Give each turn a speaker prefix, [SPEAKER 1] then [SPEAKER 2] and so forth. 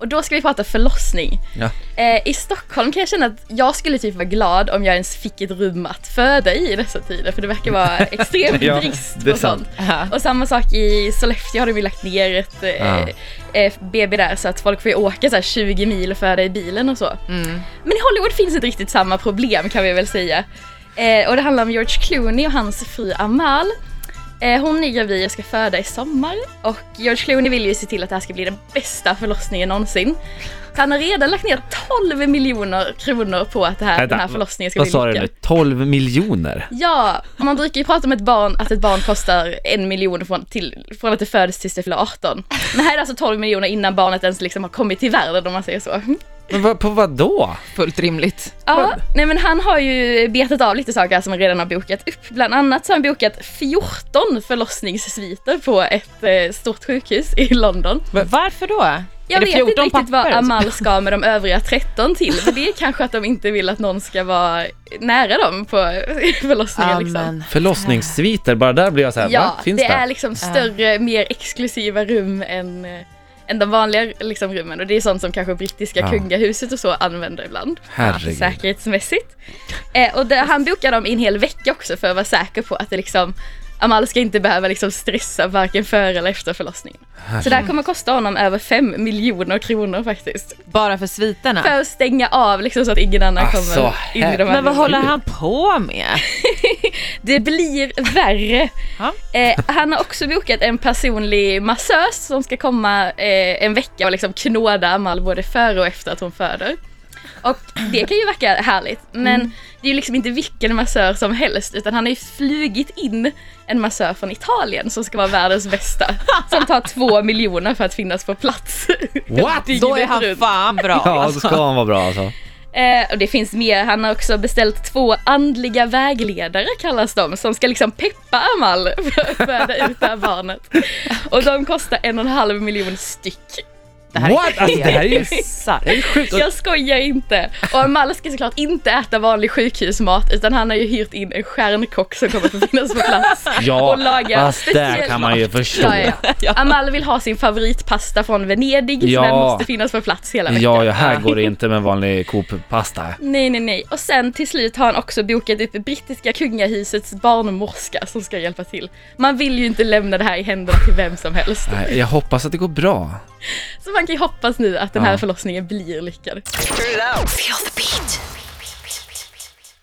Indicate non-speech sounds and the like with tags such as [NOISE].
[SPEAKER 1] Och då ska vi prata förlossning.
[SPEAKER 2] Ja.
[SPEAKER 1] Eh, I Stockholm kan jag känna att jag skulle typ vara glad om jag ens fick ett rum att föda i i dessa tider för det verkar
[SPEAKER 2] [LAUGHS]
[SPEAKER 1] vara extrem
[SPEAKER 2] Ja,
[SPEAKER 1] brist
[SPEAKER 2] det är
[SPEAKER 1] på sånt.
[SPEAKER 3] Ja.
[SPEAKER 1] Och samma sak i Sollefteå har de ju lagt ner ett eh,
[SPEAKER 2] Ja.
[SPEAKER 1] eh, BB där så att folk får ju åka så här 20 mil och föda i bilen och så. Men i Hollywood finns inte riktigt samma problem kan vi väl säga. Eh, och det handlar om George Clooney och hans fru Amal. Eh, hon är gravid och ska föda i sommar och George Clooney vill ju se till att det här ska bli den bästa förlossningen någonsin. Så han har redan lagt ner 12 miljoner kronor på att det här,
[SPEAKER 2] Vänta,
[SPEAKER 1] den här förlossningen ska
[SPEAKER 2] Vad sa
[SPEAKER 1] bli
[SPEAKER 2] du nu?
[SPEAKER 1] lyckad.
[SPEAKER 2] 12 miljoner?
[SPEAKER 1] Ja, man brukar ju prata om ett barn, att ett barn kostar en miljon från, till, från att det föds tills det fyller 18. Men här är det alltså 12 miljoner innan barnet ens liksom har kommit till världen om man säger så.
[SPEAKER 2] Men vad, på vad då?
[SPEAKER 3] Fullt rimligt.
[SPEAKER 1] Ja, nej men han har ju betat av lite saker som han redan har bokat upp. Bland annat så har han bokat 14 förlossningssviter på ett eh, stort sjukhus i London.
[SPEAKER 3] Varför då?
[SPEAKER 1] Jag
[SPEAKER 3] är det
[SPEAKER 1] vet inte
[SPEAKER 3] 14
[SPEAKER 1] riktigt vad
[SPEAKER 3] papper?
[SPEAKER 1] Amal ska med de övriga 13 till, men det är kanske att de inte vill att någon ska vara nära dem på [LAUGHS] förlossningen. Liksom.
[SPEAKER 3] Amen.
[SPEAKER 2] Förlossningssviter, bara där blir jag så här,
[SPEAKER 1] Ja,
[SPEAKER 2] va?
[SPEAKER 1] det,
[SPEAKER 2] Finns det?
[SPEAKER 1] är liksom större, mer exklusiva rum än, eh, än de vanliga liksom, rummen och det är sånt som kanske brittiska
[SPEAKER 2] Ja.
[SPEAKER 1] kungahuset och så använder ibland.
[SPEAKER 2] Herregud.
[SPEAKER 1] Säkerhetsmässigt. Eh, och det, han bokade dem i en hel vecka också för att vara säker på att det liksom Amal ska inte behöva liksom stressa varken före eller efter förlossningen. Så det här kommer kosta honom över 5 miljoner kronor faktiskt.
[SPEAKER 3] Bara för sviterna?
[SPEAKER 1] För att stänga av liksom så att ingen annan
[SPEAKER 2] Alltså,
[SPEAKER 1] kommer in i de här
[SPEAKER 3] Men vad
[SPEAKER 1] rummen.
[SPEAKER 3] håller han på med?
[SPEAKER 1] Det blir värre.
[SPEAKER 3] Ja.
[SPEAKER 1] Eh, han har också bokat en personlig massös som ska komma eh, en vecka och liksom knåda Amal både före och efter att hon föder. Och det kan ju verka härligt men det är ju liksom inte vilken massör som helst utan han har ju flugit in en massör från Italien som ska vara världens bästa. Som tar två miljoner för att finnas på plats. liksom
[SPEAKER 2] What?
[SPEAKER 3] Då är han
[SPEAKER 1] runt.
[SPEAKER 3] fan bra
[SPEAKER 2] Ja, då
[SPEAKER 3] alltså.
[SPEAKER 2] ska han vara bra alltså.
[SPEAKER 1] Eh, och det finns mer, han har också beställt två andliga vägledare kallas de, som ska liksom peppa Amal [LAUGHS] för att föda ut det här barnet. Och de kostar en och en halv miljon styck.
[SPEAKER 3] Det här är
[SPEAKER 2] What? Alltså, det här är ju
[SPEAKER 3] bisarrt.
[SPEAKER 2] det är ju sjukt. Och
[SPEAKER 1] Jag skojar inte! Och Amal ska såklart inte äta vanlig sjukhusmat utan han har ju hyrt in en stjärnkock som kommer att finnas på plats.
[SPEAKER 2] Ja,
[SPEAKER 1] och laga
[SPEAKER 2] fast det
[SPEAKER 1] speciell
[SPEAKER 2] kan man ju förstå.
[SPEAKER 1] Ja, ja, ja. Amal vill ha sin favoritpasta från Venedig så
[SPEAKER 2] Ja.
[SPEAKER 1] den måste finnas på plats hela veckan.
[SPEAKER 2] Ja, ja, här går det inte med vanlig Coop-pasta.
[SPEAKER 1] Nej, nej, nej. Och sen till slut har han också bokat upp brittiska kungahusets barnmorska som ska hjälpa till. Man vill ju inte lämna det här i händerna till vem som helst.
[SPEAKER 2] Nej, Jag hoppas att det går bra.
[SPEAKER 1] Så man kan ju hoppas nu att den här
[SPEAKER 2] Ja.
[SPEAKER 1] förlossningen blir lyckad.
[SPEAKER 4] Feel the beat.